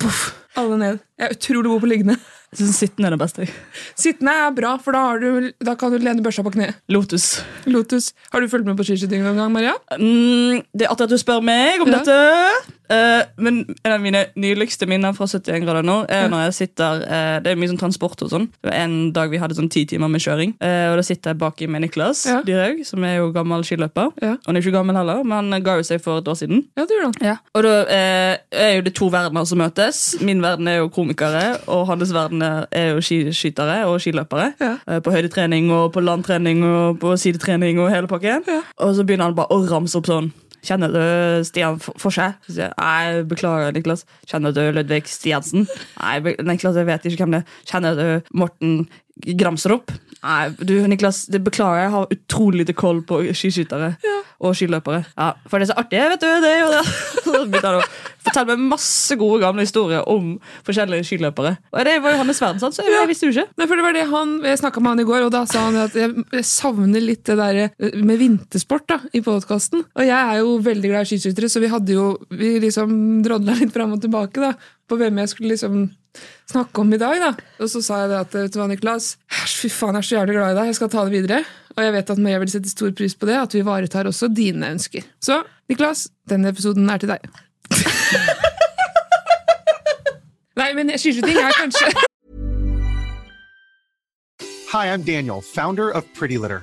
[SPEAKER 2] puff. Alle ned. Jeg er utrolig god på liggende.
[SPEAKER 1] Jeg synes Sånn sittende er det beste.
[SPEAKER 2] Sittende er bra, for da, har du, da kan du lene børsa på kneet.
[SPEAKER 1] Lotus.
[SPEAKER 2] Lotus, har du fulgt med på skiskyting noen gang, Maria?
[SPEAKER 1] Mm, det er artig at du spør meg om
[SPEAKER 2] Ja.
[SPEAKER 1] dette. Eh, men en av mine nyligste minner fra 71 grader nord er når jeg sitter eh, Det er mye sånn transport og sånn. Det var En dag vi hadde sånn ti timer med kjøring. eh, og da sitter jeg baki med Niklas
[SPEAKER 2] Ja.
[SPEAKER 1] Dyrhaug, som er jo gammel skiløper.
[SPEAKER 2] Ja.
[SPEAKER 1] Han er ikke gammel heller, men han ga jo seg for et år siden.
[SPEAKER 2] Ja, det gjorde han.
[SPEAKER 1] Og da eh, er jo det to verdener som møtes. Min verden er jo komikere, og hans verden er- er jo skiskytere og skiløpere.
[SPEAKER 2] Ja.
[SPEAKER 1] Eh, På høydetrening og på landtrening og på sidetrening og hele pakken. Og så begynner han bare å ramse opp sånn. Kjenner du Stian F- Forse? Så sier jeg, Nei, beklager, Niklas. Kjenner du Ludvig Stiansen? Nei, be- Niklas, jeg vet ikke hvem det er. Kjenner du Morten Gramsrup? Nei, du, Niklas, det beklager, jeg har utrolig lite koll på skiskyttere og skiløpere. Ja, For det er så artig, vet du. det er jo det. <laughs> Så begynte han å fortelle meg masse gode gamle historier om forskjellige skiløpere. Og det var jo hans verden, sant? så jeg, jeg visste jo ikke.
[SPEAKER 2] Nei, for det var det han, Jeg snakka med han i går, og da sa han at jeg, jeg savner litt det der eh, med vintersport da, i podkasten. Og jeg er jo veldig glad i skiskyttere, så vi hadde jo, vi liksom drodla litt fram og tilbake da, på hvem jeg skulle liksom snakke om i dag. da. Og så sa jeg det at vet du hva, Niklas, æsj, fy faen, jeg er så jævlig glad i deg, jeg skal ta det videre. Og jeg vet at Maria vil sette stor pris på det, at vi ivaretar også dine ønsker. Så Niklas, denne episoden er til deg. <laughs> Nei, men skiskyting er kanskje
[SPEAKER 11] Hi, I'm Daniel, founder of Pretty Litter.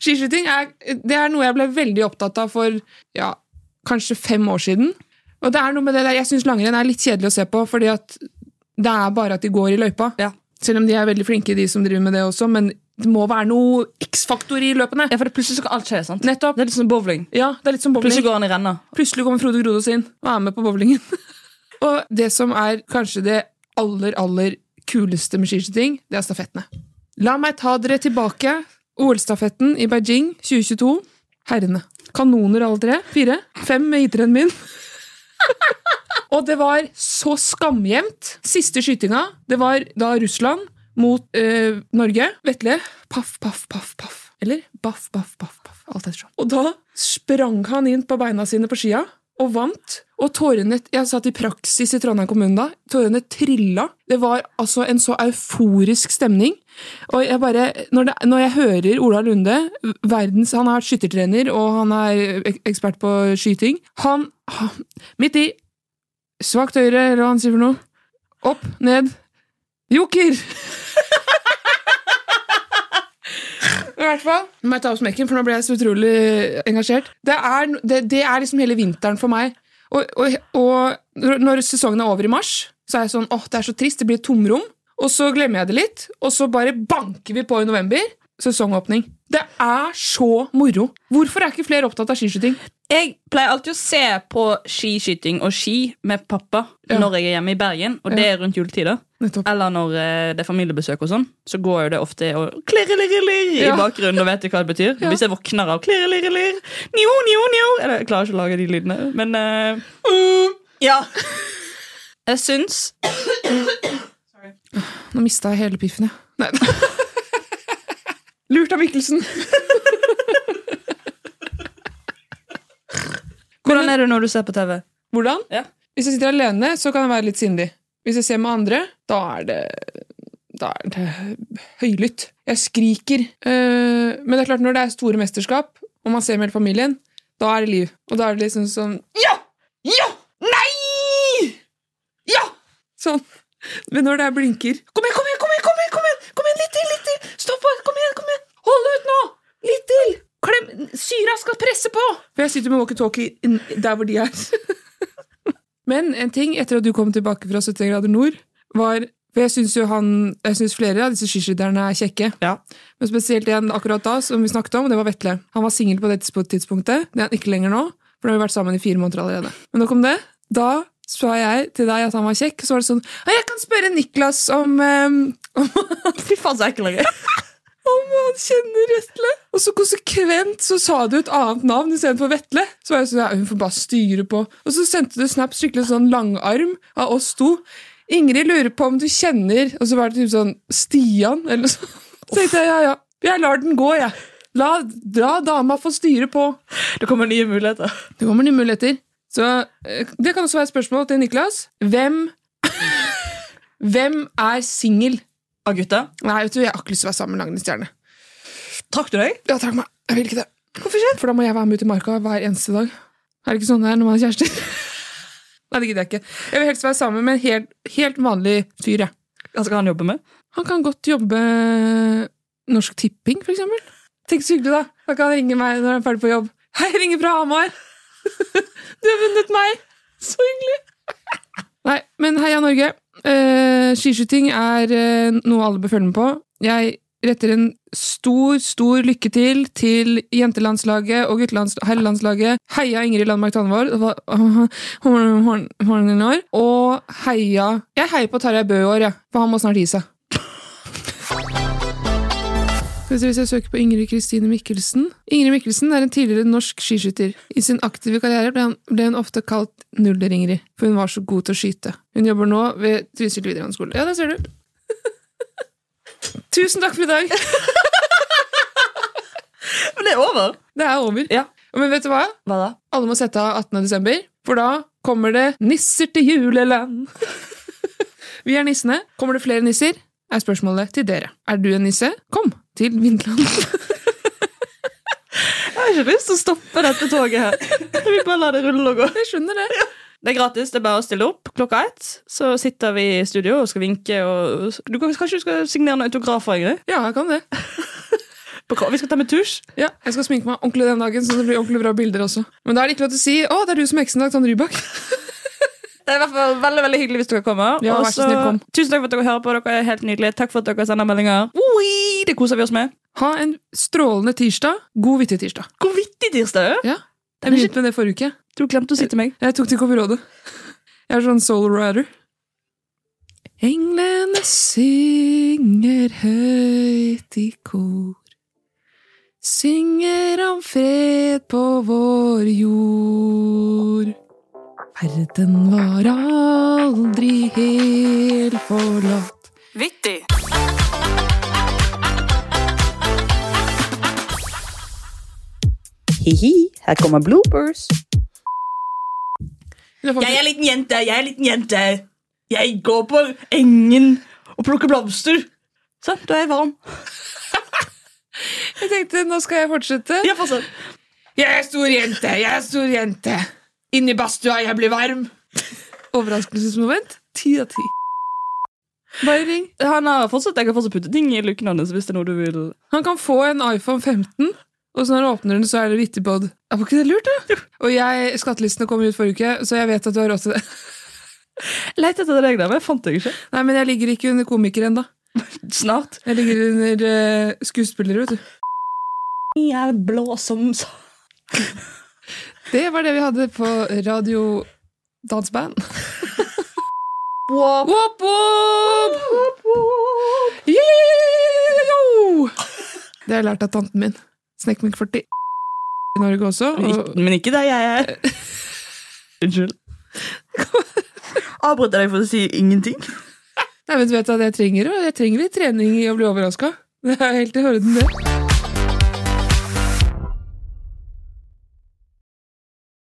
[SPEAKER 2] Skiskyting er, det er noe jeg ble veldig opptatt av for ja, kanskje fem år siden. Og det er noe med det der, Jeg syns langrenn er litt kjedelig å se på, fordi at det er bare at de går i løypa.
[SPEAKER 1] Ja.
[SPEAKER 2] Selv om de er veldig flinke, de som driver med det også, men det må være noe X-faktor i løpene.
[SPEAKER 1] Ja, for det plutselig skal alt skje, sant?
[SPEAKER 2] Nettopp.
[SPEAKER 1] Det er litt som bowling.
[SPEAKER 2] Ja, det er litt som bowling.
[SPEAKER 1] Plutselig går han i renna.
[SPEAKER 2] Plutselig kommer Frode Grodås inn og er med på bowlingen. <laughs> og det som er kanskje det aller, aller kuleste med skiskyting, det er stafettene. La meg ta dere tilbake. OL-stafetten i Beijing 2022. Herrene. Kanoner alle tre. Fire. Fem med hitteren min. og det var så skamjevnt. Siste skytinga, det var da Russland mot eh, Norge. Vetle. Paff, paff, paff, paff. Eller baff, baff, baff, baff. Alt ettersom. Og da sprang han inn på beina sine på skia og vant. Og tårene Jeg satt i praksis i Trondheim kommune da. Tårene trilla. Det var altså en så euforisk stemning. Og jeg bare Når, det, når jeg hører Ola Lunde verdens, Han er skyttertrener, og han er ek- ekspert på skyting. Han, han Midt i Svakt høyre, eller hva han sier for noe. Opp, ned. Joker! I hvert fall. Nå må jeg ta opp smekken, for nå ble jeg så utrolig engasjert. Det er, no- det, det er liksom hele vinteren for meg. Og, og, og når- når sesongen er over i mars, så er jeg sånn åh, det er så trist, det blir et tomrom. Og så glemmer jeg det litt, og så bare banker vi på i november. Sesongåpning. Det er så moro! Hvorfor er ikke flere opptatt av skiskyting?
[SPEAKER 1] Jeg pleier alltid å se på skiskyting og ski med pappa når jeg er hjemme i Bergen, og det er rundt juletider. Eller når eh, det er familiebesøk og sånn, så går jo det ofte og klirrelirrelir i
[SPEAKER 12] Ja.
[SPEAKER 1] bakgrunnen, og vet du hva det betyr? Hvis jeg våkner av klirrelirrelir, njo, njo, njo Eller, jeg klarer ikke å lage de lydene, men eh, mm, Ja. Jeg syns
[SPEAKER 2] Nå mista jeg hele piffen, jeg. Nei. <laughs> Lurt av Mikkelsen.
[SPEAKER 1] Hvordan er du når du ser på TV?
[SPEAKER 2] Hvordan?
[SPEAKER 1] Ja.
[SPEAKER 2] Hvis jeg sitter alene, så kan jeg være litt sindig. Hvis jeg ser med andre, da er det da er det høylytt. Jeg skriker. Eh, men det er klart, når det er store mesterskap, og man ser med hele familien, da er det liv. Og da er det liksom sånn Ja! Ja! Nei! Ja! Sånn. Men når det er blinker Kom igjen, kom igjen, kom igjen! Kom igjen, kom igjen, kom igjen litt til! litt til Stopp! Kom igjen! kom igjen Hold ut nå! Litt til! Klem! Syra skal presse på! For jeg sitter med walkietalkie inn- der hvor de er. Men en ting etter at du kom tilbake fra 70 grader nord, var For jeg syns jo han Jeg synes flere av disse skiskytterne er kjekke. Men spesielt en akkurat da, som vi snakket om, det var Vetle. Han var singel på det tids- tidspunktet. Det er han ikke lenger nå, for nå har vi vært sammen i fire måneder allerede. Men nok om det. Da sa jeg til deg at han var kjekk, så var det sånn «Ja, Jeg kan spørre Niklas om, ehm, om Fy faen, så ekkel han er. Om han kjenner Vetle. Og så konsekvent så sa du et annet navn istedenfor Vetle. Så var jeg sånn, ja, hun får bare styre på. Og så sendte du snap skikkelig sånn langarm av oss to. Ingrid lurer på om du kjenner Og så var det typ sånn Stian, eller noe sånt. Så <laughs> tenkte jeg ja, ja. Jeg lar den gå, jeg. La, la dama få styre på.
[SPEAKER 1] <laughs> Det kommer nye muligheter.
[SPEAKER 2] Det kommer nye muligheter. Så eh, det kan også være et spørsmål til Niklas. Hvem <laughs> Hvem er singel?
[SPEAKER 1] Av gutta?
[SPEAKER 2] Nei, vet du, jeg har ikke lyst til å være sammen med Langrennsstjerne.
[SPEAKER 1] Trakk du deg?
[SPEAKER 2] Ja, trakk meg. Jeg vil ikke det. Hvorfor ikke? For da må jeg være med ut i marka hver eneste dag. Er det ikke sånn det er når man er kjærester? <laughs> Nei, det gidder jeg ikke. Jeg vil helst være sammen med en helt, helt vanlig fyr, jeg.
[SPEAKER 1] Altså, Hva skal han jobbe med?
[SPEAKER 2] Han kan godt jobbe eh, Norsk Tipping, for eksempel. Tenk så hyggelig, da. Da kan han ringe meg når han er ferdig på jobb. Hei, jeg ringer fra Hamar! <laughs> Du har vunnet meg! Så hyggelig! <laughs> Nei, men heia Norge. Eh, skiskyting er eh, noe alle bør følge med på. Jeg retter en stor, stor lykke til til jentelandslaget og guttelands- herrelandslaget. Heia Ingrid Landmark Tandvold. Det var- <laughs> Horn- horn- horn i år. Og heia Jeg heier på Tarjei Bø i år, jeg. For han må snart gi seg. Skal vi se Hvis jeg søker på Ingrid Kristine Mikkelsen Ingrid Mikkelsen er en tidligere norsk skiskytter. I sin aktive karriere ble, han, ble hun ofte kalt Nuller-Ingrid, for hun var så god til å skyte. Hun jobber nå ved Trysil videregående skole. Ja, der ser du. <laughs> Tusen takk for i dag!
[SPEAKER 1] Men det er over.
[SPEAKER 2] Det er over.
[SPEAKER 1] Ja.
[SPEAKER 2] Men vet du hva?
[SPEAKER 1] Hva da?
[SPEAKER 2] Alle må sette av 18. desember, for da kommer det nisser til juleland. <laughs> Vi er nissene. Kommer det flere nisser? Er spørsmålet til dere. Er du en nisse? Kom til Vinland. <laughs>
[SPEAKER 1] Jeg har ikke lyst til å stoppe dette toget her. Jeg vil bare la det rulle og gå.
[SPEAKER 2] Jeg skjønner det.
[SPEAKER 1] Det er gratis, det er bare å stille opp. Klokka ett så sitter vi i studio og skal vinke. Og du, kan- kanskje du skal signere noen autografer? Ingrid?
[SPEAKER 2] Ja, jeg kan det.
[SPEAKER 1] På kra- Vi skal ta med tusj.
[SPEAKER 2] Ja, jeg skal sminke meg ordentlig den dagen, så det blir ordentlig bra bilder også. Men da er det ikke lov til å si 'Å, det er du som er heksen i dag, Tanne Rybak'. <laughs>
[SPEAKER 1] Det er i hvert fall veldig veldig hyggelig hvis dere kommer.
[SPEAKER 2] Ja,
[SPEAKER 1] Og
[SPEAKER 2] vær så snill, kom.
[SPEAKER 1] Tusen takk for at dere hører på. Dere er helt nydelige. Takk for at dere sender meldinger. Oi, det koser vi oss med.
[SPEAKER 2] Ha en strålende tirsdag. God vittig tirsdag.
[SPEAKER 1] Hvor vittig tirsdag er.
[SPEAKER 2] Ja, Jeg begynte med det forrige uke.
[SPEAKER 1] Du glemte å si til meg.
[SPEAKER 2] Jeg tok til Copperode. Jeg er sånn soul rider. Englene synger høyt i kor. Synger om fred på vår jord. Verden var aldri helt forlatt.
[SPEAKER 1] Vittig.
[SPEAKER 13] Hihi, her kommer bloopers.
[SPEAKER 1] Jeg er liten jente, jeg er liten jente. Jeg går på engen og plukker blomster. Sånn, da er jeg varm.
[SPEAKER 2] Jeg tenkte, nå skal jeg fortsette.
[SPEAKER 1] Ja, fortsett.
[SPEAKER 2] Jeg er stor jente, jeg er stor jente. Inni badstua, jeg blir varm. Overraskelsesmoment. Ti av ti. Bare ring.
[SPEAKER 1] Han har fortsatt, jeg har fortsatt puttet ting i luken hans hvis det er noe du vil
[SPEAKER 2] Han kan få en iPhone 15, og så når han åpner den, så er det Vittipod. Ja, Var ikke det lurt, da? Og jeg, skattelistene kommer ut forrige uke, så jeg vet at du har råd til det. <laughs>
[SPEAKER 1] Leit etter deg der, men jeg fant deg ikke.
[SPEAKER 2] Nei, men jeg ligger ikke under komiker ennå.
[SPEAKER 1] Snart.
[SPEAKER 2] Jeg ligger under eh, skuespillere, vet du.
[SPEAKER 1] Jeg er blå som s-
[SPEAKER 2] Det var det vi hadde på Radio Dansband.
[SPEAKER 1] Wow.
[SPEAKER 2] Wop, wop! Yo! Det har jeg lært av tanten min. Snekkmink 40 i Norge også.
[SPEAKER 1] Men
[SPEAKER 2] Og
[SPEAKER 1] ikke- Men ikke der jeg er. Unnskyld. Avbrøt jeg deg for å si ingenting?
[SPEAKER 2] Nei, men du vet at jeg trenger, det, og jeg trenger litt trening i å bli overraska. Det er helt i orden, det.